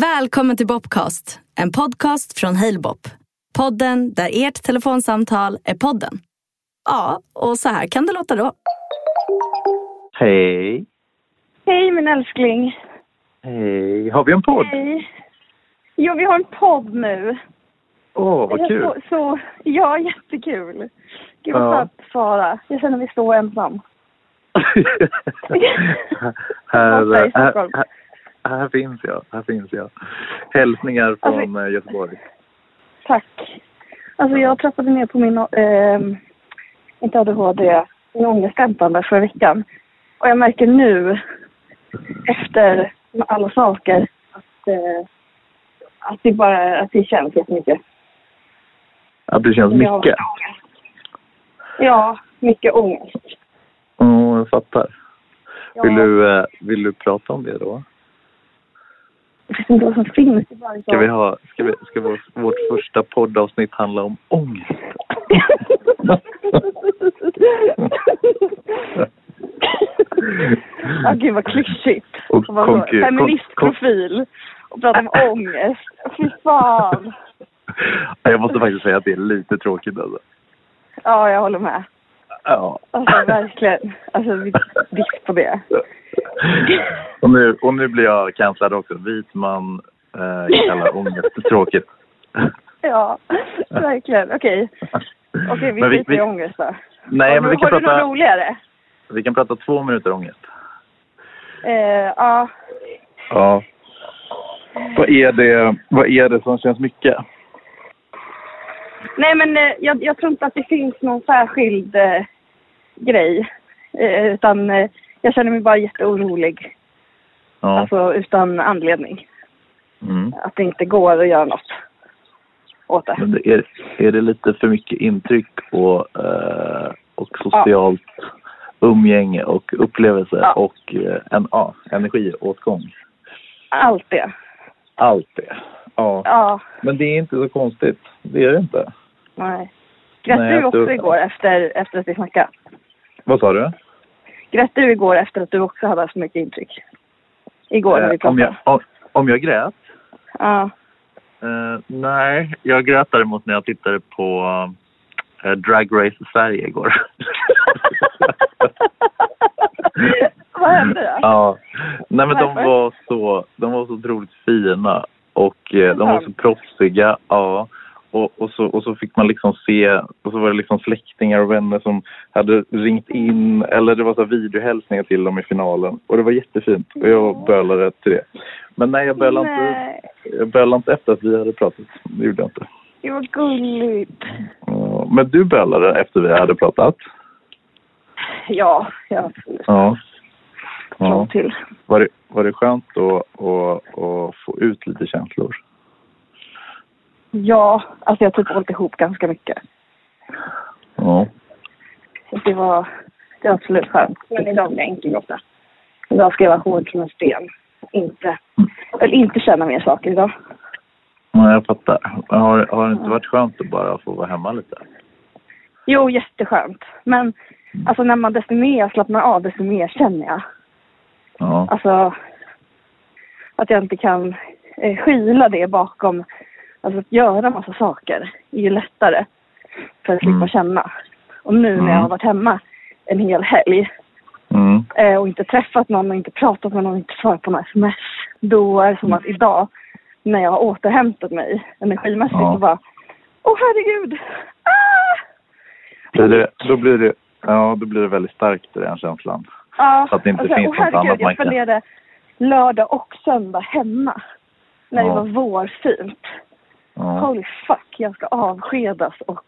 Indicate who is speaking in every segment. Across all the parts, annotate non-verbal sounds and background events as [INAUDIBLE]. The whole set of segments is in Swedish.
Speaker 1: Välkommen till Bobcast, en podcast från Halebop. Podden där ert telefonsamtal är podden. Ja, och så här kan det låta då.
Speaker 2: Hej.
Speaker 3: Hej min älskling.
Speaker 2: Hej. Har vi en podd?
Speaker 3: Hej. Jo, vi har en podd nu.
Speaker 2: Åh, vad kul.
Speaker 3: Så, så, ja, jättekul. Gud
Speaker 2: Ja.
Speaker 3: vad skönt Sara. Jag känner mig så ensam.
Speaker 2: [LAUGHS] här,
Speaker 3: Borta
Speaker 2: här,
Speaker 3: i
Speaker 2: här,
Speaker 3: Stockholm.
Speaker 2: här, här finns jag. Här finns jag. Hälsningar
Speaker 3: Alltså,
Speaker 2: från eh, Göteborg.
Speaker 3: Tack. Alltså jag trappade ner på min, eh, inte ADHD, min ångestdämpande förra veckan. Och jag märker nu, efter med alla saker, att, eh, att det bara, att det känns jättemycket.
Speaker 2: Att det känns
Speaker 3: Jag har
Speaker 2: mycket.
Speaker 3: ångest. Ja, mycket ångest.
Speaker 2: Mm, jag fattar.
Speaker 3: Ja.
Speaker 2: Vill du, eh, vill du prata om det då?
Speaker 3: Jag vet inte vad som finns. Det är bara
Speaker 2: Ska,
Speaker 3: liksom-
Speaker 2: vi ha, ska, vi, ska vår, vårt första poddavsnitt handla om ångest?
Speaker 3: [LAUGHS]
Speaker 2: [LAUGHS]
Speaker 3: Ja, Ah, gud vad klyschigt.
Speaker 2: Och
Speaker 3: Vad så,
Speaker 2: konkur-
Speaker 3: Feministprofil och prata om
Speaker 2: [LAUGHS]
Speaker 3: ångest. Fy fan.
Speaker 2: Jag måste faktiskt säga att det är lite tråkigt alltså.
Speaker 3: Ja, jag håller med.
Speaker 2: Ja.
Speaker 3: Alltså verkligen. Alltså vi diss på det.
Speaker 2: [LAUGHS] och, nu, och nu blir jag cancellad också. Vit man eh, kallar ångest tråkigt.
Speaker 3: Ja, verkligen. Okej, [LAUGHS] okej vi
Speaker 2: Men vi-
Speaker 3: skiter i
Speaker 2: vi-
Speaker 3: ångest då.
Speaker 2: Nej,
Speaker 3: har
Speaker 2: men vi
Speaker 3: du,
Speaker 2: kan,
Speaker 3: har du något
Speaker 2: prata,
Speaker 3: roligare?
Speaker 2: vi kan prata två minuter ångest.
Speaker 3: Eh, Ja,
Speaker 2: Ja. Vad är det, vad är det som känns mycket?
Speaker 3: Nej, men eh, jag, jag tror inte att det finns någon särskild eh, grej. Eh, utan eh, jag känner mig bara jätteorolig.
Speaker 2: Ja.
Speaker 3: Alltså utan anledning.
Speaker 2: Mm.
Speaker 3: Att det inte går att göra något åt det.
Speaker 2: Men det är, är det lite för mycket intryck och, eh, och socialt umgänge och upplevelse
Speaker 3: Ja.
Speaker 2: och eh, en, ja, energiåtgång?
Speaker 3: Allt det.
Speaker 2: Allt det. Ja.
Speaker 3: Ja,
Speaker 2: Men det är inte så konstigt. Det är det inte.
Speaker 3: nej. Grät
Speaker 2: Nej,
Speaker 3: du
Speaker 2: att
Speaker 3: också
Speaker 2: du-
Speaker 3: igår efter, efter att vi snackade?
Speaker 2: Vad sa du?
Speaker 3: Grät du igår efter att du också hade haft så mycket intryck? Igår när vi
Speaker 2: Eh, om,
Speaker 3: pratade?
Speaker 2: jag, om, om jag grät? [LAUGHS]
Speaker 3: Ja.
Speaker 2: Eh, nej, jag grät däremot när jag tittade på eh, Drag Race Sverige igår. [LAUGHS]
Speaker 3: Vad hände då?
Speaker 2: ja. Nej men de
Speaker 3: Varför?
Speaker 2: var så, de var så otroligt fina och eh, de var så proffsiga. Ja. Och, och, så, och så fick man liksom se, och så var det liksom släktingar och vänner som hade ringt in eller det var så här videohälsningar till dem i finalen. Och det var jättefint och jag bölade till det. Men nej jag bölade inte,
Speaker 3: Nej,
Speaker 2: jag bölade inte efter att vi hade pratat. Det gjorde jag inte.
Speaker 3: det var gulligt.
Speaker 2: Ja, Men du bölade efter vi hade pratat.
Speaker 3: Ja, jag har absolut
Speaker 2: Ja. ja.
Speaker 3: ja. till.
Speaker 2: Var, det, var det skönt då att, att få ut lite känslor?
Speaker 3: Ja, alltså jag har typ hållit ihop ganska mycket.
Speaker 2: Ja.
Speaker 3: Så det var, det var absolut skönt. Men idag blir jag enkelgråta. Idag ska jag vara hård som en sten. Inte, eller inte känna mer saker idag.
Speaker 2: ja jag fattar. Men Har, har det inte varit skönt att bara få vara hemma lite?
Speaker 3: Jo, jätteskönt. Men alltså när man desto mer jag slappnar av, desto mer känner jag.
Speaker 2: Ja.
Speaker 3: Alltså att jag inte kan eh, skyla det bakom. Alltså att göra massa saker är ju lättare för att slippa
Speaker 2: Mm.
Speaker 3: känna. Och nu när jag har
Speaker 2: Mm.
Speaker 3: varit hemma en hel helg
Speaker 2: Mm.
Speaker 3: eh, och inte träffat någon och inte pratat med någon och inte svarat på några sms. Då är det
Speaker 2: Mm.
Speaker 3: som att idag när jag har återhämtat mig energimässigt
Speaker 2: Ja.
Speaker 3: så bara Åh herregud! Ah!
Speaker 2: Blir det, då, blir det, ja, då blir det väldigt starkt i den känslan.
Speaker 3: Ja,
Speaker 2: Så att det inte
Speaker 3: och så här,
Speaker 2: finns något
Speaker 3: "Åh, herregud,
Speaker 2: annat man
Speaker 3: Jag
Speaker 2: kan-
Speaker 3: spenderade lördag och söndag hemma. När
Speaker 2: Ja.
Speaker 3: det var vårfint.
Speaker 2: Ja.
Speaker 3: Holy fuck, jag ska avskedas och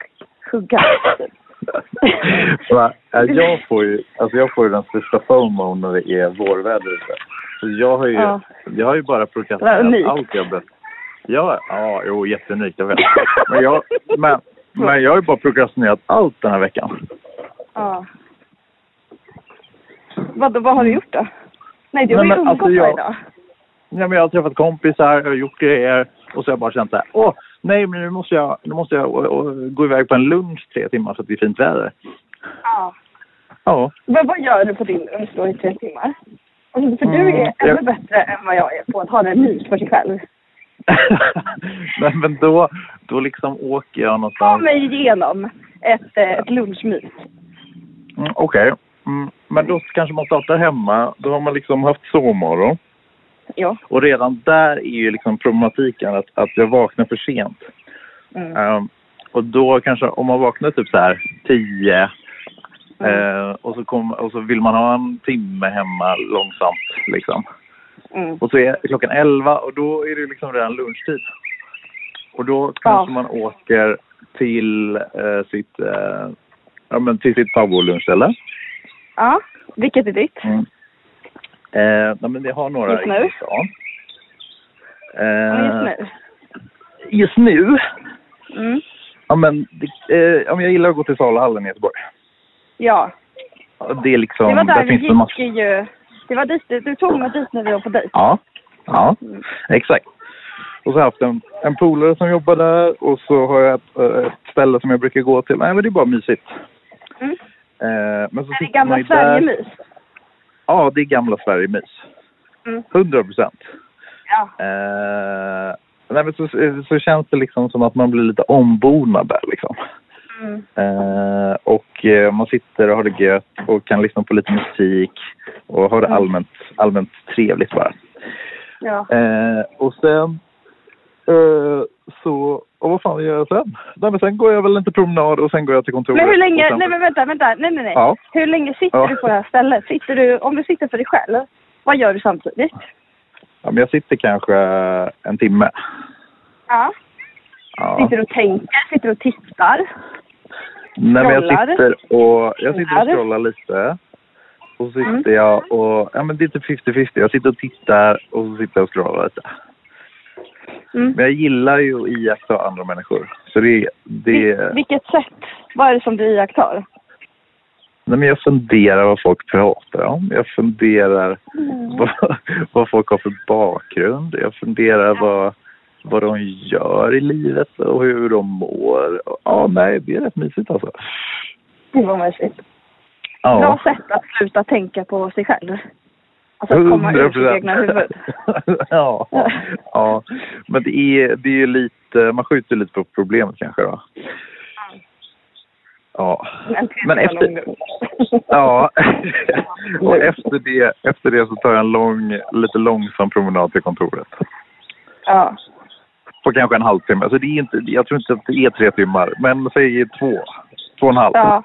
Speaker 3: huggas.
Speaker 2: [LAUGHS] Va? Ja, Jag får ju, alltså jag får ju den största fomo när det är vårväder ute. Så jag har ju,
Speaker 3: Ja.
Speaker 2: jag har ju bara
Speaker 3: Det var
Speaker 2: prokrastinerat
Speaker 3: unikt.
Speaker 2: allt jag behövt. Ja, ja, jo, jätteunikt, jag vet. Men jag, men, men jag har ju bara prokrastinerat allt den här veckan.
Speaker 3: ja. Vad, vad har du gjort då? Nej, du har
Speaker 2: Mm. Nej,
Speaker 3: ju
Speaker 2: men alltså,
Speaker 3: umgåtts varje
Speaker 2: jag-
Speaker 3: dag.
Speaker 2: Ja, men jag har träffat kompisar, jag har gjort grejer och så har jag bara känt så här, åh, nej, men nu måste jag, nu måste jag och, och, gå iväg på en lunch tre timmar för att det är fint väder.
Speaker 3: Ja.
Speaker 2: Ja. [LAUGHS]
Speaker 3: Men vad gör du på din önskelista i tre timmar? Alltså, för du
Speaker 2: Mm,
Speaker 3: är ännu
Speaker 2: jag-
Speaker 3: bättre än vad jag är på att ha det mysigt för sig själv.
Speaker 2: Nej, men då, då liksom åker jag
Speaker 3: Ta
Speaker 2: någonstans.
Speaker 3: mig igenom ett, eh, ett lunchmys.
Speaker 2: Mm, Okej. Mm, men då kanske man startar hemma. Då har man liksom haft sovmorgon.
Speaker 3: Ja.
Speaker 2: Och redan där är ju liksom problematiken att, att jag vaknar för sent.
Speaker 3: Mm.
Speaker 2: Ehm, och då kanske, om man vaknar typ så här 10
Speaker 3: Mm.
Speaker 2: eh, och, så kom, och så vill man ha en timme hemma långsamt liksom.
Speaker 3: Mm.
Speaker 2: Och så är klockan 11 och då är det liksom redan lunchtid. Och då kanske man åker till eh, sitt eh, ja, men till sitt favoritlunchställe.
Speaker 3: Ja. Vilket är ditt?
Speaker 2: Mm. Eh, nej, men det har några
Speaker 3: Just nu?
Speaker 2: i stan.
Speaker 3: Ja,
Speaker 2: Eh,
Speaker 3: Just nu.
Speaker 2: just nu?
Speaker 3: Mm.
Speaker 2: Ja, men, det- eh, ja, men jag gillar att gå till Saluhallen i Göteborg.
Speaker 3: Ja.
Speaker 2: Ja, Det är liksom,
Speaker 3: Det var där vi
Speaker 2: finns det
Speaker 3: gick
Speaker 2: massor.
Speaker 3: ju. Det var dit du, du tog mig dit när vi var på dejt.
Speaker 2: Ja, ja,
Speaker 3: Mm.
Speaker 2: exakt. Och så har jag haft en, en polare som jobbar där och så har jag ett, eh, ett ställe som jag brukar gå till. Nej, men det är bara mysigt.
Speaker 3: Mm.
Speaker 2: Eh, men så
Speaker 3: Är det
Speaker 2: sitter man
Speaker 3: gamla
Speaker 2: ju där.
Speaker 3: Sverigemys?
Speaker 2: Ja, det är gamla Sverigemys.
Speaker 3: Mm.
Speaker 2: 100 procent.
Speaker 3: Ja.
Speaker 2: Eh, nej, men så, så känns det liksom som att man blir lite ombonad där liksom.
Speaker 3: Mm.
Speaker 2: Eh, och eh, man sitter och har det gött och kan lyssna på lite musik och har det
Speaker 3: Mm.
Speaker 2: allmänt, allmänt trevligt bara.
Speaker 3: Ja.
Speaker 2: Eh, och sen eh, så, och vad fan gör jag sen? Nej men sen går jag väl lite promenad och sen går jag till kontoret.
Speaker 3: Men hur
Speaker 2: och
Speaker 3: länge,
Speaker 2: sen-
Speaker 3: nej men vänta, vänta, nej nej nej.
Speaker 2: Ja.
Speaker 3: Hur länge sitter
Speaker 2: Ja.
Speaker 3: du på det här stället? Sitter du, om du sitter för dig själv, vad gör du samtidigt?
Speaker 2: ja, men jag sitter kanske en timme.
Speaker 3: Ja.
Speaker 2: Ja.
Speaker 3: Sitter du och tänker? Sitter du och tittar?
Speaker 2: Nej, men jag
Speaker 3: scrollar?
Speaker 2: sitter och, jag sitter och
Speaker 3: Scrollar?
Speaker 2: scrollar lite. Och så sitter
Speaker 3: Mm.
Speaker 2: jag och, ja men det är typ 50-50. Jag sitter och tittar och så sitter jag och scrollar lite.
Speaker 3: Mm.
Speaker 2: Men jag gillar ju att iaktta andra människor. Så det, det,
Speaker 3: Vil- vilket sätt? Vad är det som du iakttar?
Speaker 2: nej men jag funderar vad folk pratar om. Jag funderar
Speaker 3: Mm.
Speaker 2: vad, [LAUGHS] vad folk har för bakgrund. Jag funderar vad, vad de gör i livet och hur de mår. Ja, nej, det är rätt mysigt alltså.
Speaker 3: Gud vad mysigt.
Speaker 2: Ja.
Speaker 3: Bra sätt att sluta tänka på sig själv. Alltså att komma ur sitt egna huvud.
Speaker 2: [LAUGHS] ja. ja. Men det är, det är ju lite, man skjuter lite på problemet kanske då. Ja. Men efter, ja. [LAUGHS] Och efter det, efter det så tar jag en lång, lite långsam promenad till kontoret.
Speaker 3: ja.
Speaker 2: På kanske en halvtimme. Så det är inte, jag tror inte att det är tre timmar. Men säg två. Två och en halv.
Speaker 3: ja.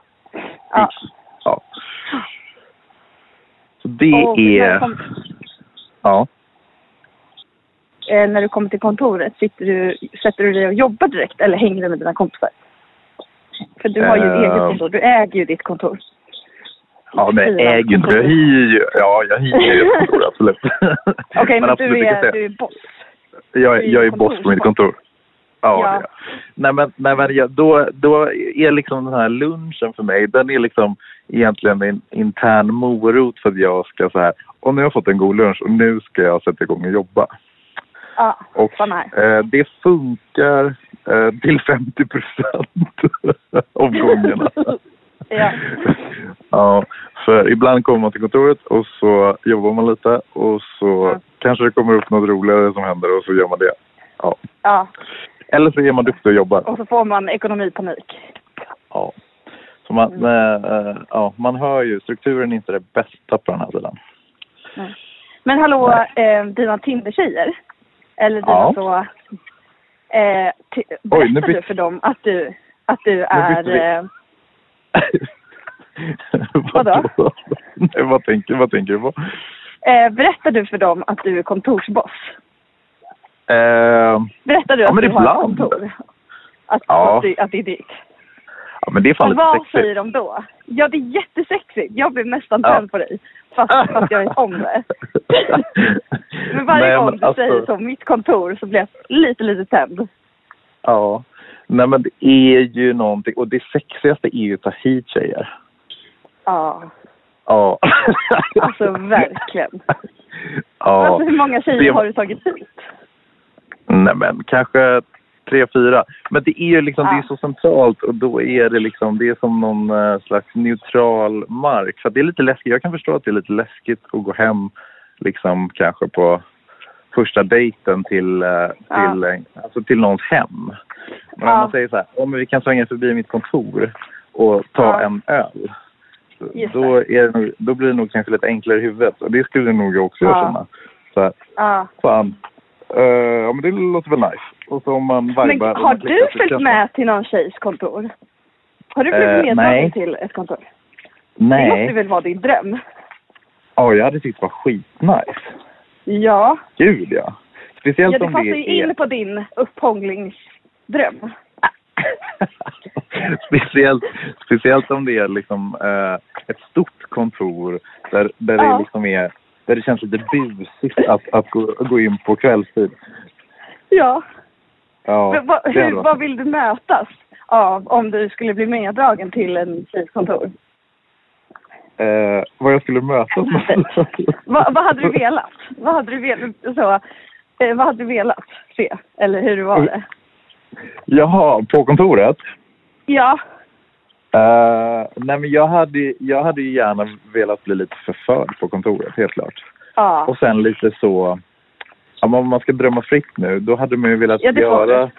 Speaker 3: ja.
Speaker 2: Ja. Så det
Speaker 3: Och när du
Speaker 2: är,
Speaker 3: kom-
Speaker 2: ja.
Speaker 3: eh, när du kommer till kontoret, sitter du, sätter du dig och jobbar direkt eller hänger du med dina kompisar? För du har ju
Speaker 2: Eh.
Speaker 3: eget kontor, du äger ju ditt kontor.
Speaker 2: Ja, men jag äger ju inte, för jag hyr ju. Ja, jag hyr ju ett kontor, absolut.
Speaker 3: [LAUGHS]
Speaker 2: [LAUGHS]
Speaker 3: Okej, men,
Speaker 2: absolut,
Speaker 3: du,
Speaker 2: jag kan
Speaker 3: är,
Speaker 2: säga,
Speaker 3: du är boss.
Speaker 2: jag, är-
Speaker 3: du är
Speaker 2: jag är boss på mitt kontor. Ja,
Speaker 3: Ja.
Speaker 2: det är jag. Nej, men, nej, men jag, då, då är liksom den här lunchen för mig, den är liksom egentligen en intern morot för att jag ska så här, och nu har jag fått en god lunch och nu ska jag sätta igång och jobba.
Speaker 3: Ja,
Speaker 2: Och
Speaker 3: sån här.
Speaker 2: eh, det funkar eh, till 50 procent [LAUGHS] av [LAUGHS] gångerna.
Speaker 3: ja.
Speaker 2: Ja, för ibland kommer man till kontoret och så jobbar man lite och så
Speaker 3: Ja.
Speaker 2: kanske det kommer upp något roligare som händer och så gör man det. Ja.
Speaker 3: ja,
Speaker 2: Eller så är man duktig och jobbar.
Speaker 3: och så får man ekonomipanik.
Speaker 2: Ja. Så man,
Speaker 3: Mm.
Speaker 2: eh, eh, ja, man hör ju, strukturen är inte det bästa på den här sidan. [LAUGHS]
Speaker 3: Men hallå, eh, dina Tinder-tjejer, eller dina
Speaker 2: Ja.
Speaker 3: så... Eh, ty- berättar
Speaker 2: nu byt-
Speaker 3: du för dem att du, att du är...
Speaker 2: bytte vi.
Speaker 3: Eh,
Speaker 2: Vad-
Speaker 3: Vadå?
Speaker 2: Nej, vad, tänker, vad tänker du på?
Speaker 3: eh, berättar du för dem att du är kontorsboss?
Speaker 2: Eh,
Speaker 3: Berättar du
Speaker 2: Ja,
Speaker 3: att
Speaker 2: men
Speaker 3: du har ett
Speaker 2: ibland.
Speaker 3: kontor? Att,
Speaker 2: Ja.
Speaker 3: att, du, att det är ditt?
Speaker 2: ja, men det är fan
Speaker 3: Och
Speaker 2: lite
Speaker 3: vad
Speaker 2: sexigt.
Speaker 3: säger de då? Ja, det är jättesexigt. Jag blir nästan
Speaker 2: Ja.
Speaker 3: tänd på dig. Fast, fast jag vet
Speaker 2: [LAUGHS]
Speaker 3: om det. Men varje
Speaker 2: Nej,
Speaker 3: gång du
Speaker 2: alltså-
Speaker 3: säger så, mitt kontor, så blir jag lite, lite tänd.
Speaker 2: Ja. Nej, men det är ju någonting. Och det sexigaste är ju att ta hit tjejer.
Speaker 3: Ja,
Speaker 2: Ja.
Speaker 3: alltså verkligen.
Speaker 2: [LAUGHS] Ja.
Speaker 3: Alltså, hur många tjejer
Speaker 2: Det-
Speaker 3: har du tagit hit?
Speaker 2: Nej men kanske tre, fyra. Men det är ju liksom,
Speaker 3: Ja.
Speaker 2: det är så centralt och då är det liksom, det är som någon eh, slags neutral mark. För att det är lite läskigt, jag kan förstå att det är lite läskigt att gå hem liksom kanske på första dejten till, eh,
Speaker 3: Ja.
Speaker 2: till, eh, alltså till någons hem. Men om
Speaker 3: Ja.
Speaker 2: man säger så här, om vi kan svänga förbi mitt kontor och ta
Speaker 3: Ja.
Speaker 2: en öl.
Speaker 3: Just
Speaker 2: Då, är det, nog- då blir det nog kanske lite enklare i huvudet. Och det skulle nog jag också
Speaker 3: Ja.
Speaker 2: erkänna. Så här,
Speaker 3: Ja.
Speaker 2: fan, eh, ja men det låter väl nice. Och så om man
Speaker 3: Men
Speaker 2: vibar. och
Speaker 3: har
Speaker 2: man klickar
Speaker 3: du
Speaker 2: så
Speaker 3: följt
Speaker 2: kanske-
Speaker 3: med till någon tjejs kontor? Har du
Speaker 2: Eh, nej.
Speaker 3: blivit medtagen till ett kontor? Det måste
Speaker 2: Nej.
Speaker 3: väl vara din dröm?
Speaker 2: Ja, jag hade tyckt det var skitnice.
Speaker 3: Ja.
Speaker 2: Gud ja. Speciellt
Speaker 3: Ja, det
Speaker 2: om det
Speaker 3: passar ju
Speaker 2: är...
Speaker 3: in på din upphånglingsdröm.
Speaker 2: [LAUGHS] speciellt, speciellt om det är liksom eh, ett stort kontor där, där,
Speaker 3: Ja.
Speaker 2: det liksom är, där det känns lite busigt att, att gå, gå in på kvällstid.
Speaker 3: Ja.
Speaker 2: Ja,
Speaker 3: Men vad-
Speaker 2: det
Speaker 3: hur,
Speaker 2: hade varit-
Speaker 3: vad vill du mötas av om du skulle bli meddragen till en tjejs kontor?
Speaker 2: eh, vad jag skulle mötas med.
Speaker 3: [LAUGHS] vad, vad hade du velat? Vad hade du velat, så, eh, vad hade du velat se? Eller hur var det?
Speaker 2: Jaha, på kontoret?
Speaker 3: Ja.
Speaker 2: Eh, nej men jag hade, jag hade ju gärna velat bli lite förförd på kontoret, helt klart.
Speaker 3: Ja.
Speaker 2: Och sen lite så, ja, men om man ska drömma fritt nu, då hade man ju velat
Speaker 3: Ja, det får
Speaker 2: göra,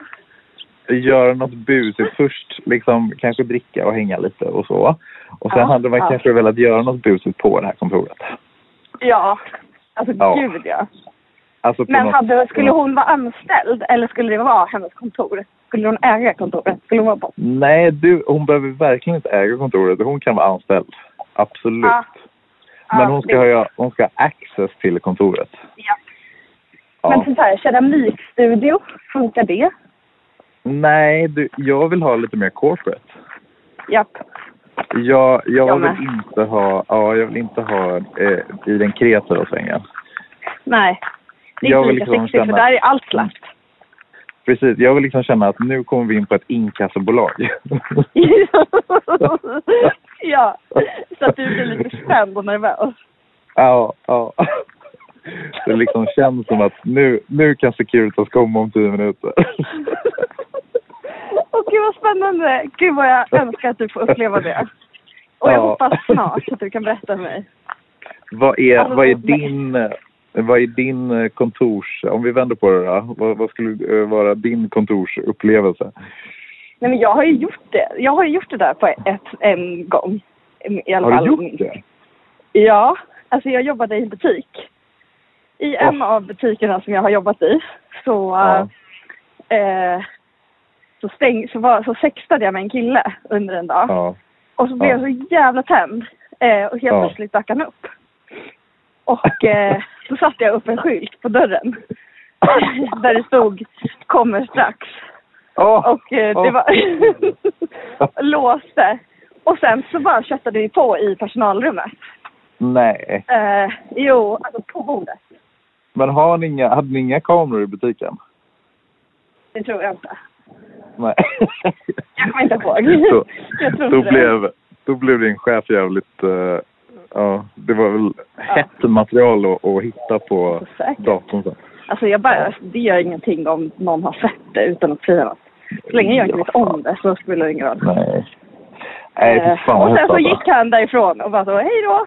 Speaker 2: göra något busigt först. Liksom, kanske dricka och hänga lite och så. Och sen
Speaker 3: Ja,
Speaker 2: hade man
Speaker 3: ja.
Speaker 2: kanske velat göra något busigt på det här kontoret.
Speaker 3: ja. Alltså
Speaker 2: Ja.
Speaker 3: gud ja.
Speaker 2: Alltså på
Speaker 3: Men
Speaker 2: något,
Speaker 3: hade,
Speaker 2: på
Speaker 3: skulle
Speaker 2: något-
Speaker 3: hon vara anställd eller skulle det vara hennes kontor? Skulle hon äga kontoret? Skulle hon vara boss?
Speaker 2: Nej, du, hon behöver verkligen inte äga kontoret. Hon kan vara anställd. Absolut.
Speaker 3: Ja.
Speaker 2: Men
Speaker 3: Ja,
Speaker 2: hon, ska
Speaker 3: det-
Speaker 2: ha, hon ska ha access till kontoret.
Speaker 3: Ja.
Speaker 2: Ja.
Speaker 3: Men så här, keramikstudio, funkar det?
Speaker 2: Nej, du, jag vill ha lite mer corporate.
Speaker 3: Japp.
Speaker 2: Jag, jag,
Speaker 3: Jag med.
Speaker 2: vill inte ha, ja, jag vill inte ha eh, i den kreativa svängen.
Speaker 3: Nej. Det är
Speaker 2: Jag
Speaker 3: inte
Speaker 2: vill
Speaker 3: lika
Speaker 2: liksom
Speaker 3: sexigt för
Speaker 2: känna-
Speaker 3: där är allt
Speaker 2: [LAUGHS]
Speaker 3: slappt.
Speaker 2: Precis, jag vill liksom känna att nu kommer vi in på ett
Speaker 3: [LAUGHS]
Speaker 2: inkassobolag.
Speaker 3: ja. Så att du blir lite spänd och nervös.
Speaker 2: ja, ja. Det liksom känns som att nu, nu kan Securitas komma om tio minuter.
Speaker 3: Åh gud vad spännande! Gud vad jag önskar att du får uppleva det. Och jag
Speaker 2: Ja.
Speaker 3: hoppas snart att du kan berätta för mig.
Speaker 2: vad, är,
Speaker 3: Alltså,
Speaker 2: vad är
Speaker 3: nej.
Speaker 2: din... eh, Vad är din eh, kontors... Om vi vänder på det då. Vad, vad skulle eh, vara din kontorsupplevelse?
Speaker 3: Nej men jag har ju gjort det. Jag har ju gjort det där på ett, en gång. I alla
Speaker 2: Har
Speaker 3: fall.
Speaker 2: du gjort det?
Speaker 3: Ja. Alltså jag jobbade i en butik. I en av butikerna som jag har jobbat i så,
Speaker 2: Ja.
Speaker 3: eh, så, stäng, så, var, så sextade jag med en kille under en dag.
Speaker 2: Ja.
Speaker 3: Och så blev
Speaker 2: Ja.
Speaker 3: jag så jävla tänd. Eh, och helt
Speaker 2: Ja.
Speaker 3: plötsligt dök han upp. Och eh, så satte jag upp en skylt
Speaker 2: [LAUGHS]
Speaker 3: på dörren. Där det stod kommer strax.
Speaker 2: Åh!
Speaker 3: Och eh, det
Speaker 2: Åh.
Speaker 3: var... [LAUGHS] låste. Och sen så bara köttade vi på i personalrummet.
Speaker 2: Nej.
Speaker 3: Eh, jo, alltså på bordet.
Speaker 2: Men har ni inga, hade ni inga kameror i butiken?
Speaker 3: Det tror jag inte.
Speaker 2: Nej.
Speaker 3: [LAUGHS] Jag kommer inte ihåg.
Speaker 2: Så,
Speaker 3: Jag tror
Speaker 2: [LAUGHS] då,
Speaker 3: inte det.
Speaker 2: blev, då blev din chef jävligt... eh, ja, det var väl hett material att, att hitta på
Speaker 3: Så säkert.
Speaker 2: datorn sen.
Speaker 3: Alltså jag bara, det gör ingenting om någon har sett det utan att säga något. Så länge jag inte vet om det så spelar det ingen roll.
Speaker 2: Nej. Nej, fy fan
Speaker 3: Eh,
Speaker 2: vad
Speaker 3: och sen
Speaker 2: hett
Speaker 3: så
Speaker 2: alltså.
Speaker 3: gick han därifrån och bara så, hej då!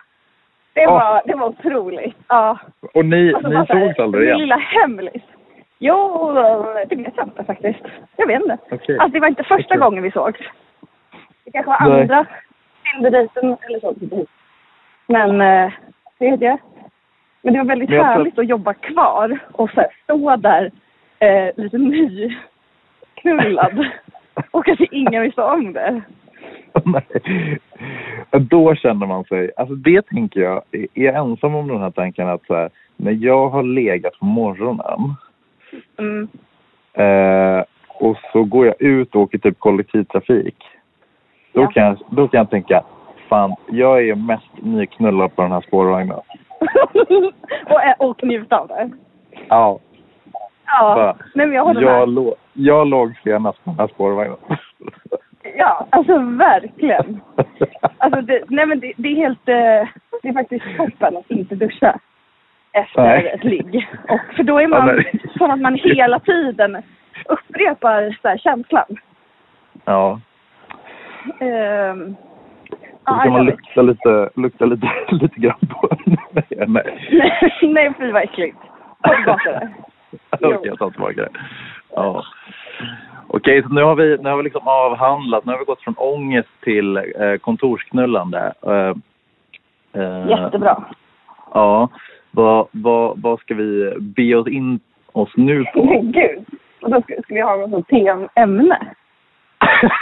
Speaker 3: Det
Speaker 2: Ja.
Speaker 3: var, det var otroligt. Ja.
Speaker 2: Och ni,
Speaker 3: Alltså,
Speaker 2: ni
Speaker 3: bara så här,
Speaker 2: sågs aldrig
Speaker 3: Min
Speaker 2: igen? [LAUGHS]
Speaker 3: lilla hemlis. Jo, det vet jag inte faktiskt. Jag vet inte.
Speaker 2: Okej.
Speaker 3: Alltså det var inte första
Speaker 2: Okej.
Speaker 3: gången vi sågs. Det kanske var
Speaker 2: Nej.
Speaker 3: andra Tinderdejten eller så. Men eh, tredje. Men det var väldigt
Speaker 2: Men jag tror-
Speaker 3: härligt att jobba kvar och så här, stå där eh, lite ny,
Speaker 2: [LAUGHS]
Speaker 3: knullad. och att ingen visste om det.
Speaker 2: Nej. Då känner man sig... Alltså det tänker jag, är jag ensam om den här tanken att så här, när jag har legat på morgonen
Speaker 3: Mm. [LAUGHS]
Speaker 2: Eh, och så går jag ut och åker typ kollektivtrafik. Då,
Speaker 3: Ja.
Speaker 2: kan jag, då kan jag tänka, fan, jag är mest nyknullad på den här spårvagnen.
Speaker 3: och, eh, och njuta av det.
Speaker 2: Ja,
Speaker 3: Ja,
Speaker 2: Bara,
Speaker 3: Nej, men jag håller med.
Speaker 2: jag, lå- jag låg senast på den här [LAUGHS] spårvagnen.
Speaker 3: Ja, alltså verkligen. Alltså, det, nej men det, det är helt, eh, det är faktiskt toppen att inte duscha efter
Speaker 2: Nej.
Speaker 3: ett ligg. Och, för då är
Speaker 2: Ja,
Speaker 3: man
Speaker 2: nej.
Speaker 3: som att man hela tiden upprepar så här, känslan.
Speaker 2: ja,
Speaker 3: Ehm,
Speaker 2: då
Speaker 3: ja,
Speaker 2: kan man
Speaker 3: jag vet.
Speaker 2: lukta [LAUGHS] lite, lukta lite, lite grann på den. Nej.
Speaker 3: [LAUGHS] nej, fy vad äckligt. Ta tillbaka det.
Speaker 2: [LAUGHS] Okej, jag tar tillbaka det. Ja. Okej, så nu har, vi, nu har vi liksom avhandlat. Nu har vi gått från ångest till eh, kontorsknullande. Eh, eh,
Speaker 3: Jättebra.
Speaker 2: Ja. Vad, vad, vad ska vi be oss in oss nu på?
Speaker 3: Men gud. Och då skulle jag ha något sånt PM-ämne.
Speaker 2: [LAUGHS]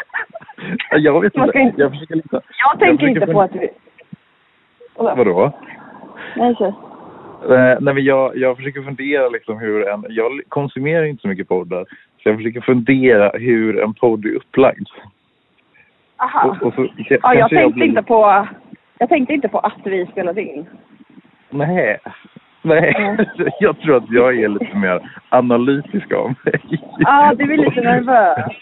Speaker 2: jag vet
Speaker 3: Man ska
Speaker 2: inte.
Speaker 3: inte-
Speaker 2: Jag försöker liksom...
Speaker 3: Jag tänker
Speaker 2: försöker
Speaker 3: inte på
Speaker 2: fun-
Speaker 3: att vi... Vadå?
Speaker 2: Vadå?
Speaker 3: Nej, kör.
Speaker 2: Eh, nej, men jag, jag försöker fundera liksom hur en... Jag konsumerar inte så mycket poddar. Så jag försöker fundera hur en podd är upplagd.
Speaker 3: Aha.
Speaker 2: Och, och så,
Speaker 3: Ja, jag
Speaker 2: kanske
Speaker 3: tänkte
Speaker 2: blir-
Speaker 3: inte på... Jag tänkte inte på att vi spelade in.
Speaker 2: Nej. Nej, [LAUGHS] jag tror att jag är lite mer analytisk av mig.
Speaker 3: Ja, du är lite nervös.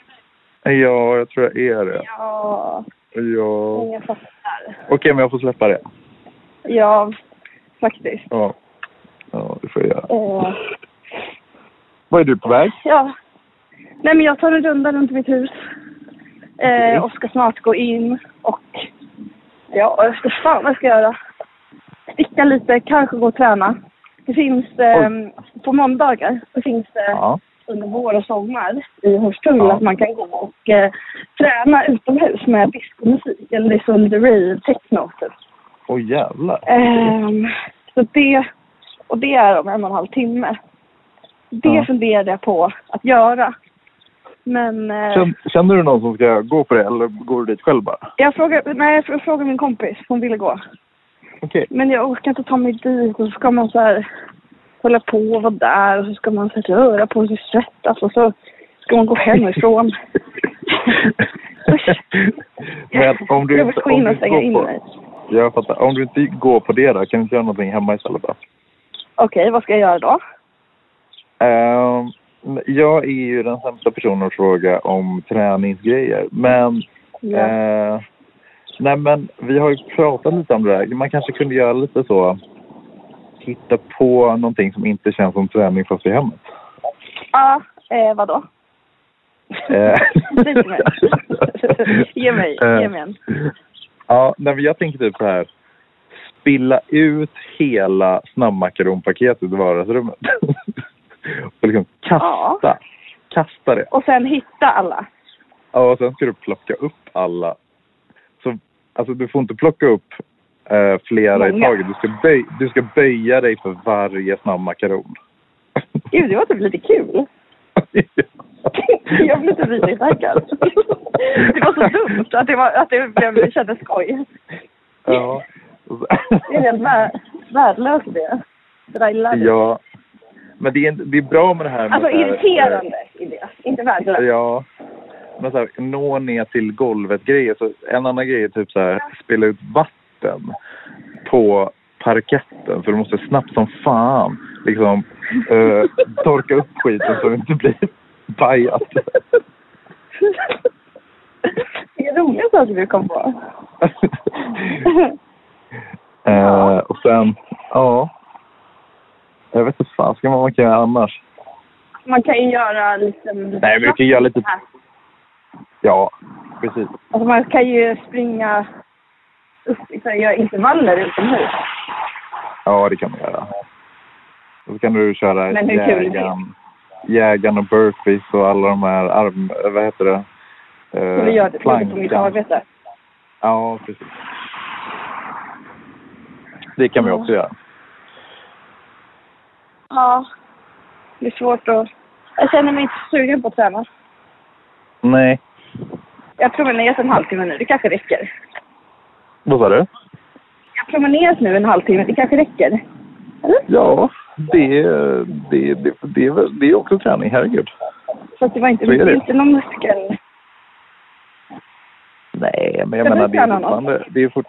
Speaker 2: Ja, jag tror jag är det.
Speaker 3: Ja,
Speaker 2: Ja.
Speaker 3: jag fattar.
Speaker 2: Okej, men jag får släppa det.
Speaker 3: Ja, faktiskt.
Speaker 2: Ja. ja, det får jag göra.
Speaker 3: Eh,
Speaker 2: Var är du på väg?
Speaker 3: ja. Nej, men jag tar en runda runt mitt hus. Eh, och ska snart gå in och... Ja, jag vet inte fan vad jag ska göra. Sticka lite, kanske gå och träna. Det finns... Eh, på måndagar så finns det...
Speaker 2: Ja.
Speaker 3: under vår och sommar i Hornstull
Speaker 2: Ja.
Speaker 3: att man kan gå och eh, träna utomhus med discomusik eller liksom the rave techno typ.
Speaker 2: Åh jävlar.
Speaker 3: Ehm, så det, och det är om en och en halv timme. Det
Speaker 2: Ja.
Speaker 3: funderade jag på att göra. Men eh,
Speaker 2: Känner, känner du någon som ska gå på det eller går du dit själv bara?
Speaker 3: jag, frågade, nej, jag frågade min kompis, hon ville gå.
Speaker 2: Okej.
Speaker 3: [LAUGHS] Men jag orkar inte ta mig dit och så ska man så här hålla på och vara där och så ska man så här röra på sig, svettas och så ska man gå hemifrån. Usch.
Speaker 2: [LAUGHS] men om du
Speaker 3: jag vill
Speaker 2: inte,
Speaker 3: gå
Speaker 2: om
Speaker 3: in
Speaker 2: du
Speaker 3: och
Speaker 2: inte
Speaker 3: stänga
Speaker 2: går
Speaker 3: in
Speaker 2: på,
Speaker 3: mig.
Speaker 2: jag fattar. Om du inte går på det då, kan du inte göra någonting hemma istället då?
Speaker 3: Okej, vad ska jag göra då?
Speaker 2: Ehm, jag är ju den sämsta personen att fråga om träningsgrejer. Men,
Speaker 3: Ja.
Speaker 2: eh, nej men vi har ju pratat lite om det där. Man kanske kunde göra lite så. Hitta på någonting som inte känns som träning fast i hemmet.
Speaker 3: Ja, eh, vadå? [LAUGHS]
Speaker 2: Eh.
Speaker 3: Säg till mig. ge mig, ge
Speaker 2: Eh,
Speaker 3: mig en.
Speaker 2: Ja, nej, men jag tänker typ så här. Spilla ut hela snabbmakaronpaketet i vardagsrummet. [LAUGHS] och liksom kasta. Kasta det.
Speaker 3: Och sen hitta alla.
Speaker 2: Ja, och sen ska du plocka upp alla. Så, alltså du får inte plocka upp eh, flera i
Speaker 3: Många.
Speaker 2: taget. Du ska, böj, du ska böja dig för varje snabbmakaron. [LAUGHS]
Speaker 3: Gud, det var typ lite kul. [LAUGHS] Jag blev typ vidrigtaggad. Det var så dumt att det, var, att det blev, kändes skoj.
Speaker 2: Ja.
Speaker 3: Det är helt vär, värdelöst det. Det där
Speaker 2: [LAUGHS]
Speaker 3: lilla.
Speaker 2: ja. Men det är, det är bra med det här med...
Speaker 3: Alltså
Speaker 2: så här, eh,
Speaker 3: irriterande idé, inte värdelöst.
Speaker 2: Ja. Alltså, Men så här, nå ner till golvet-grejer. Så En annan grej är typ så här, spela ut vatten på parketten. För du måste snabbt som fan liksom eh, torka upp skiten så det inte blir pajat.
Speaker 3: [LAUGHS] Det är roligt att du kom på.
Speaker 2: eh, och sen, ja. Jag vet inte fan, ska man, man kan göra annars?
Speaker 3: Man kan ju göra liksom...
Speaker 2: Nej, men vi kan göra lite- Ja, precis.
Speaker 3: Alltså man kan ju springa upp, liksom, göra intervaller utomhus.
Speaker 2: Ja, det kan man göra. Och så kan du köra
Speaker 3: Men hur kul är det?
Speaker 2: jägaren, jägaren och burpees och alla de här arm... eh, Vad heter det? Eh,
Speaker 3: Så vi gör det lite på mitt
Speaker 2: plankan.
Speaker 3: arbete.
Speaker 2: Ja, precis. Det kan vi också göra.
Speaker 3: Ja. Det är svårt att... Jag känner mig inte sugen på att träna.
Speaker 2: Nej.
Speaker 3: Jag promenerat en halvtimme nu, det kanske räcker.
Speaker 2: Vad sa du?
Speaker 3: Jag har promenerat nu en halvtimme, det kanske räcker. Eller?
Speaker 2: Ja, det, det, det, det, är väl- det är också träning. Herregud.
Speaker 3: Så att det var inte,
Speaker 2: Så är
Speaker 3: det.
Speaker 2: det.
Speaker 3: är inte någon muskel...
Speaker 2: Nej, men jag
Speaker 3: Ska du
Speaker 2: menar det är
Speaker 3: träna något?
Speaker 2: fortfarande... Det är fort,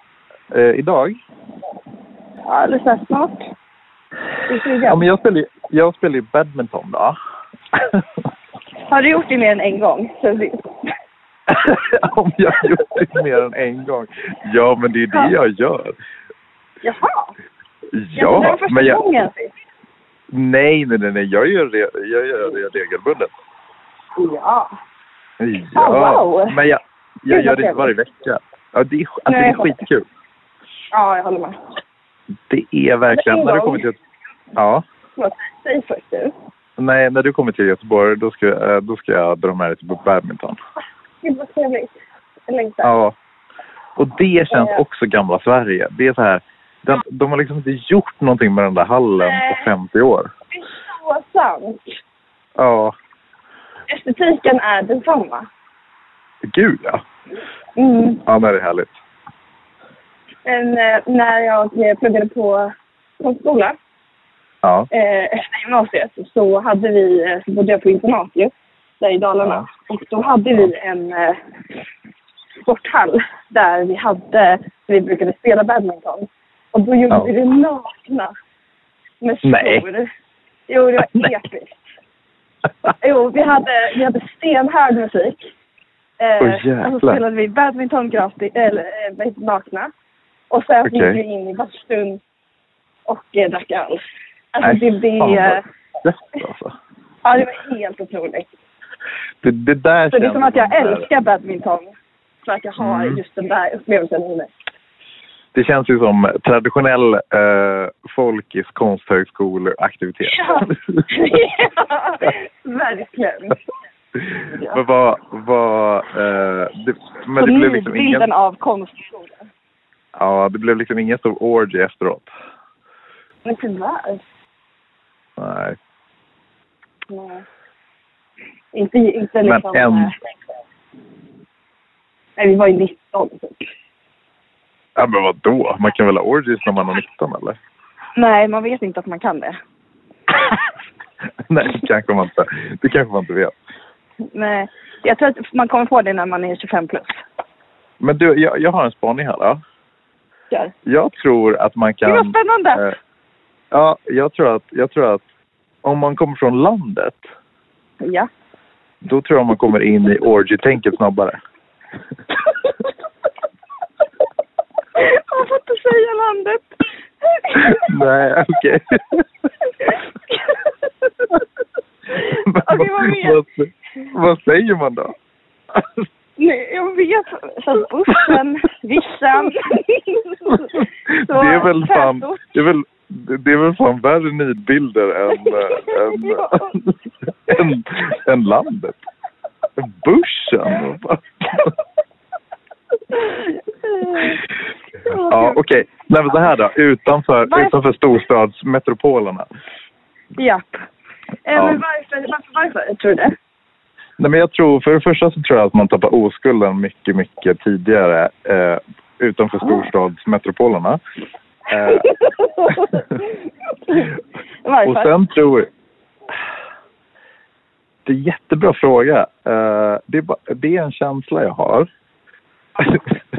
Speaker 2: eh, idag?
Speaker 3: Ja, eller så här snart. Du är sugen.
Speaker 2: Ja, men jag spelar ju jag spelar ju badminton då. [LAUGHS]
Speaker 3: Har du gjort det mer än en gång? Så det...
Speaker 2: [LAUGHS] Om jag har gjort det mer än en gång. Ja, men det är det jag gör.
Speaker 3: Jaha! det
Speaker 2: Ja,
Speaker 3: var första
Speaker 2: men jag...
Speaker 3: gången. sist.
Speaker 2: Nej, nej, nej, nej. Jag gör det, jag gör det regelbundet.
Speaker 3: Ja.
Speaker 2: Ja,
Speaker 3: Ah, wow.
Speaker 2: men jag, jag
Speaker 3: Gud,
Speaker 2: gör
Speaker 3: vad
Speaker 2: det inte varje vecka. Ja, det är, alltså, det
Speaker 3: Nej,
Speaker 2: är
Speaker 3: jag fattar.
Speaker 2: skitkul.
Speaker 3: ja, jag håller med.
Speaker 2: Det är verkligen...
Speaker 3: En
Speaker 2: När det
Speaker 3: gång.
Speaker 2: kommer till... Ja.
Speaker 3: förlåt, säg först du.
Speaker 2: Nej, när du kommer till Göteborg då ska, eh, då ska jag dra med dig till badminton.
Speaker 3: Gud vad trevligt. Jag längtar.
Speaker 2: Ja. Och det känns
Speaker 3: Eh.
Speaker 2: också gamla Sverige. Det är så här, de, de har liksom inte gjort någonting med den där hallen
Speaker 3: Nej.
Speaker 2: på 50 år.
Speaker 3: Det är så sant.
Speaker 2: Ja,
Speaker 3: Estetiken är densamma.
Speaker 2: gud ja.
Speaker 3: Mm.
Speaker 2: Ja, nej, det är härligt.
Speaker 3: Men eh, när jag eh, pluggade på konstskola
Speaker 2: Ja.
Speaker 3: [LAUGHS] eh, efter gymnasiet så hade vi, eh, så bodde jag på internat ju, där i Dalarna. Och då hade vi en eh, sporthall där vi hade, vi brukade spela badminton. Och då gjorde
Speaker 2: Ja.
Speaker 3: vi det nakna. Med skor.
Speaker 2: Nej.
Speaker 3: Jo, det var
Speaker 2: [LAUGHS] Nej.
Speaker 3: episkt. Jo, vi hade, vi hade stenhög musik. Eh,
Speaker 2: Åh, jäklar.
Speaker 3: och så spelade vi badminton gratis, eller eh, vad heter det, nakna. Och sen
Speaker 2: Okej.
Speaker 3: gick vi in i bastun och eh, drack öl. Alltså
Speaker 2: Nej,
Speaker 3: det, det,
Speaker 2: fan vad
Speaker 3: eh,
Speaker 2: gött, alltså.
Speaker 3: ja, det var helt otroligt.
Speaker 2: Det, det där
Speaker 3: Så det är
Speaker 2: känns
Speaker 3: som att jag
Speaker 2: där-
Speaker 3: älskar badminton. För att jag har
Speaker 2: Mm.
Speaker 3: just den där upplevelsen
Speaker 2: [LAUGHS]
Speaker 3: i mig.
Speaker 2: Det känns ju som traditionell eh, folkis konsthögskoleaktivitet.
Speaker 3: Ja. ja, [LAUGHS] verkligen.
Speaker 2: Men [LAUGHS] vad, vad, eh, det, men
Speaker 3: Så
Speaker 2: det blev liksom
Speaker 3: nidbilden
Speaker 2: ingen,
Speaker 3: av konstskolan.
Speaker 2: ja, det blev liksom ingen stor orgy efteråt.
Speaker 3: Men tyvärr.
Speaker 2: Nej.
Speaker 3: Nej. Inte, inte
Speaker 2: Men
Speaker 3: liksom...
Speaker 2: en-
Speaker 3: eh, Nej, vi var ju 19 typ.
Speaker 2: Ja, men vadå? Man kan väl ha orgies när man är 19 eller? [LAUGHS]
Speaker 3: Nej, man vet inte att man kan det.
Speaker 2: Nej, det kanske man inte, det kanske man inte vet.
Speaker 3: Nej, jag tror att man kommer på det när man är 25 plus.
Speaker 2: Men du, jag, jag har en spaning här. Ja.
Speaker 3: Kör.
Speaker 2: Jag tror att man
Speaker 3: Gud vad
Speaker 2: kan...
Speaker 3: spännande!
Speaker 2: Eh, ja, jag tror, att, jag tror att om man kommer från landet, [LAUGHS]
Speaker 3: Ja.
Speaker 2: då tror jag man kommer in i orgy-tänket snabbare.
Speaker 3: Man får inte säga landet.
Speaker 2: Nej, okej.
Speaker 3: [LAUGHS] Okej, vad mer?
Speaker 2: vad, [LAUGHS] vad säger man då?
Speaker 3: Nej, jag vet. Så här, bussen, vissan.
Speaker 2: [LAUGHS] det, är väl fan, det, är väl, det är väl fan värre nidbilder än, eh, än,
Speaker 3: [LAUGHS] Ja.
Speaker 2: än, än landet. Börsen? vad fan? Ja, okej. Nej, men så här då. Utanför,
Speaker 3: Varför-
Speaker 2: utanför storstadsmetropolerna.
Speaker 3: [LAUGHS] Japp. Eh,
Speaker 2: Ja.
Speaker 3: Men varför, varför, varför tror du det?
Speaker 2: [LAUGHS] Nej, men jag tror, för det första så tror jag att man tappar oskulden mycket, mycket tidigare eh, utanför [LAUGHS] storstadsmetropolerna. Eh,
Speaker 3: varför?
Speaker 2: och sen tror Det är en jättebra fråga. Eh, det, är ba, det är en känsla jag har. [LAUGHS]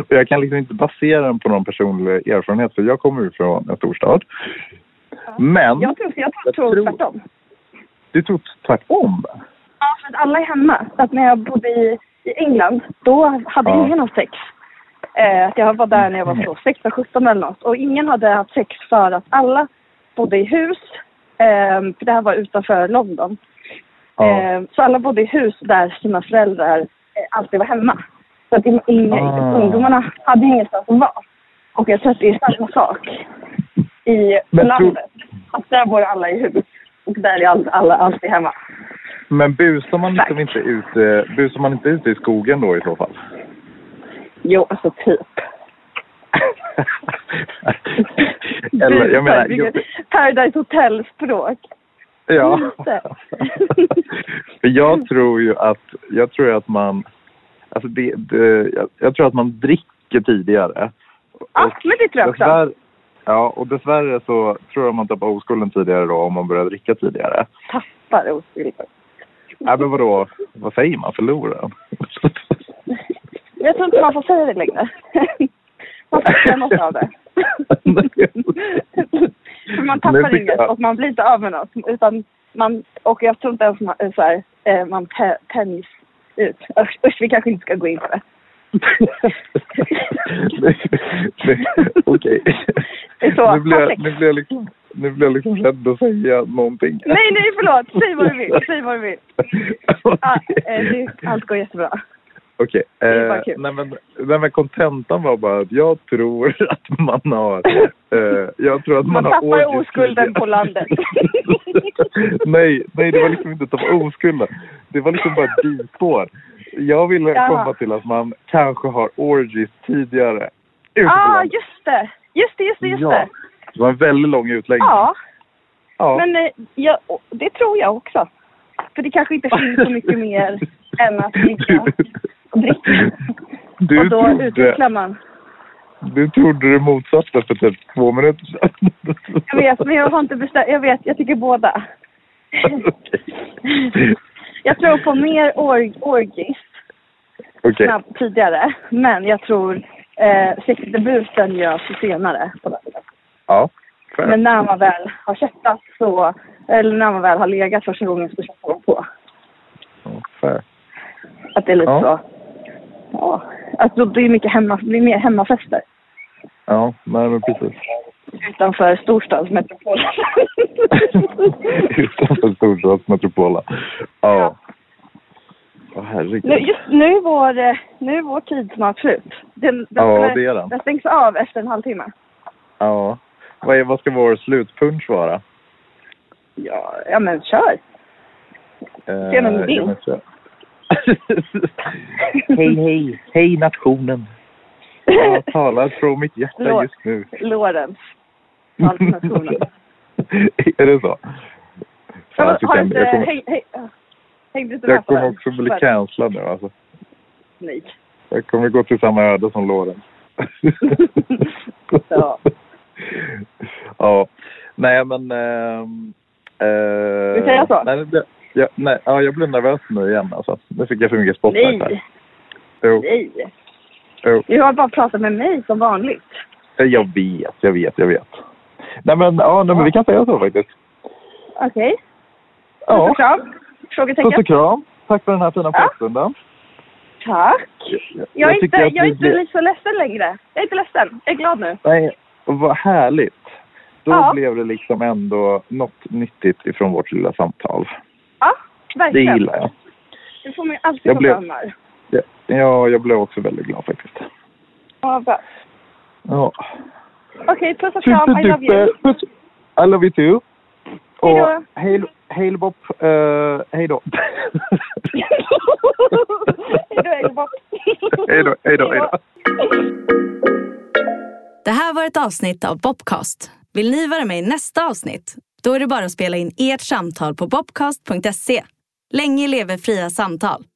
Speaker 2: och jag kan liksom inte basera den på någon personlig erfarenhet för jag kommer ju från en storstad. Men
Speaker 3: jag tror, jag tror,
Speaker 2: jag
Speaker 3: tror
Speaker 2: tror-
Speaker 3: tvärtom.
Speaker 2: du tror tvärtom.
Speaker 3: Ja, för att alla är hemma. Så att när jag bodde i, i England, då hade
Speaker 2: Ja. Mm.
Speaker 3: ingen haft sex. Eh, att jag var där när jag var så 16, 17 eller något. Och ingen hade haft sex för att alla bodde i hus. Eh, för det här var utanför London.
Speaker 2: Ja.
Speaker 3: Eh, så alla bodde i hus där sina föräldrar eh, alltid var hemma. Så att in, in,
Speaker 2: Ah.
Speaker 3: ungdomarna hade ingenstans att vara. Och jag tror att det är samma sak i
Speaker 2: Men
Speaker 3: landet. Att där bor alla i hus. Och där är all, alla alltid hemma.
Speaker 2: Men busar man, liksom
Speaker 3: Exakt.
Speaker 2: inte ute, busar man inte ute i skogen då i så
Speaker 3: [LAUGHS]
Speaker 2: fall?
Speaker 3: Jo, alltså typ.
Speaker 2: Eller jag menar...
Speaker 3: Busar, Paradise Hotel-språk.
Speaker 2: Ja.
Speaker 3: Inte.
Speaker 2: [LAUGHS] För jag tror ju att, jag tror ju att man, alltså det, det, jag, jag tror att man dricker tidigare.
Speaker 3: Ja, Ah, men det tror jag också.
Speaker 2: Dessvärre, ja, och dessvärre så tror jag man tappar oskulden tidigare då om man börjar dricka tidigare.
Speaker 3: Tappar oskulden.
Speaker 2: Nej men vadå, vad säger man, förlorar den? [LAUGHS]
Speaker 3: Jag tror inte man får säga det längre. [LAUGHS] Man får skämmas av det. [LAUGHS] För man
Speaker 2: Men jag
Speaker 3: tappar
Speaker 2: tycker
Speaker 3: inget
Speaker 2: att-
Speaker 3: och man blir inte av med något. Utan man, och jag tror inte ens man, eh, så här, eh, man tä- tänjs ut. Usch, usch, vi kanske inte ska gå in på det.
Speaker 2: Nej, nej, [LAUGHS] Okej.
Speaker 3: Det är så,
Speaker 2: Nu blir jag,
Speaker 3: perfekt.
Speaker 2: nu
Speaker 3: Mm.
Speaker 2: blir jag, liksom, nu blir jag liksom rädd att säga någonting.
Speaker 3: Nej, nej, förlåt. Säg vad du vill. Säg vad du vill.
Speaker 2: [LAUGHS] Okej.
Speaker 3: eh, alltså, Ah, eh, det, allt går jättebra.
Speaker 2: Okej.
Speaker 3: är
Speaker 2: Eh,
Speaker 3: bara kul.
Speaker 2: nej, men, nej, men kontentan var bara att jag tror [LAUGHS] att man har... Eh, jag tror att man,
Speaker 3: Man
Speaker 2: har
Speaker 3: tappar
Speaker 2: orgies-
Speaker 3: oskulden på landet.
Speaker 2: [LAUGHS] nej, nej, det var liksom inte att tappa oskulden. Det var liksom bara ett bispår. Jag ville
Speaker 3: Jaha.
Speaker 2: komma till att man kanske har orgies tidigare. ute på
Speaker 3: ah,
Speaker 2: landet.
Speaker 3: just det! Just det, just det, just
Speaker 2: ja.
Speaker 3: det.
Speaker 2: Det var en väldigt lång utläggning.
Speaker 3: Ja,
Speaker 2: Ja.
Speaker 3: men eh, jag, och det tror jag också. För det kanske inte finns så mycket mer än
Speaker 2: [LAUGHS]
Speaker 3: att ligga och dricka.
Speaker 2: Du,
Speaker 3: och då
Speaker 2: trodde,
Speaker 3: utvecklar man.
Speaker 2: du trodde det motsatta för typ två minuter sedan.
Speaker 3: Jag vet, men jag har inte bestämt. Jag vet, jag tycker båda.
Speaker 2: Okej.
Speaker 3: Jag tror på mer org, orgies
Speaker 2: [LAUGHS] Okej.
Speaker 3: snabb, tidigare. Men jag tror eh, sexdebuten görs senare. På den.
Speaker 2: Ja. fair.
Speaker 3: Men när man väl har köttat så, eller när man väl har legat första gången så köttar man på.
Speaker 2: Ja, fair.
Speaker 3: Att det är lite
Speaker 2: Ja.
Speaker 3: så. Ja. Alltså det är mycket hemma, det blir mer hemmafester.
Speaker 2: Ja, nej men precis. [LAUGHS]
Speaker 3: Utanför storstadsmetropolen.
Speaker 2: Utanför storstadsmetropolen. Ja. Åh herregud.
Speaker 3: [LAUGHS] nu, just nu är vår, eh, nu är vår tid snart slut. Den, den,
Speaker 2: Ja, det är den.
Speaker 3: den stängs av efter en halvtimme.
Speaker 2: Ja. Vad, är, vad ska vår slutpunch vara?
Speaker 3: Ja, ja men kör!
Speaker 2: Eh,
Speaker 3: Tjena, min
Speaker 2: jag
Speaker 3: bil.
Speaker 2: vet inte. [LAUGHS] hej, hej. Hej nationen. Jag talar från mitt hjärta
Speaker 3: Låt.
Speaker 2: just nu.
Speaker 3: [LAUGHS]
Speaker 2: [LAUGHS]
Speaker 3: Lorentz. Alternativen.
Speaker 2: är det så? Fan, jag,
Speaker 3: har
Speaker 2: tycker jag,
Speaker 3: inte,
Speaker 2: jag, kommer,
Speaker 3: häng, häng, äh, hängde inte
Speaker 2: jag
Speaker 3: med på
Speaker 2: kommer
Speaker 3: den?
Speaker 2: också bli
Speaker 3: För-
Speaker 2: cancellad nu alltså. [LAUGHS]
Speaker 3: Nej.
Speaker 2: Jag kommer gå till samma öde som [LAUGHS] Lorentz.
Speaker 3: Ja.
Speaker 2: ja. Nej, men... ehm, eh,
Speaker 3: Vi säger så.
Speaker 2: Nej, det blev- ja, nej, ja, jag blev nervös nu igen. Alltså. Nu fick jag för mycket spotlight här.
Speaker 3: Nej,
Speaker 2: Jo,
Speaker 3: nej.
Speaker 2: jo. Eh,
Speaker 3: Du har bara pratat med mig som vanligt.
Speaker 2: Jag vet, jag vet, jag vet. Nej, men, ja, nej, men vi kan säga så faktiskt.
Speaker 3: Okej. Puss
Speaker 2: Ja.
Speaker 3: och kram.
Speaker 2: Puss
Speaker 3: Frågetecken.
Speaker 2: och kram. Tack för den här fina
Speaker 3: Ja.
Speaker 2: pratstunden.
Speaker 3: Tack.
Speaker 2: Jag,
Speaker 3: Jag är inte,
Speaker 2: tycker att
Speaker 3: jag är
Speaker 2: vi
Speaker 3: inte
Speaker 2: blev-
Speaker 3: blir så ledsen längre. Jag är inte ledsen. Jag är glad nu.
Speaker 2: Nej, vad härligt. Då
Speaker 3: Ja.
Speaker 2: blev det liksom ändå något nyttigt ifrån vårt lilla samtal.
Speaker 3: Ja,
Speaker 2: Det
Speaker 3: verkligen.
Speaker 2: gillar jag.
Speaker 3: Du får mig alltid
Speaker 2: Jag
Speaker 3: på
Speaker 2: blev-
Speaker 3: bra humör.
Speaker 2: Ja, Ja, jag blev också väldigt glad faktiskt.
Speaker 3: Ja, bra.
Speaker 2: Ja.
Speaker 3: Okej, puss och kram. I love you.
Speaker 2: Superduper. I love you too.
Speaker 3: Hejdå.
Speaker 2: Och hej, hej Bob. Eh, hej då.
Speaker 3: [LAUGHS] Hej då, Elbop.
Speaker 2: [LAUGHS] Hej då, hej då, hej då.
Speaker 1: Det här var ett avsnitt av Bobcast. Vill ni vara med i nästa avsnitt? Då är det bara att spela in ert samtal på bobcast.se. Länge leve fria samtal!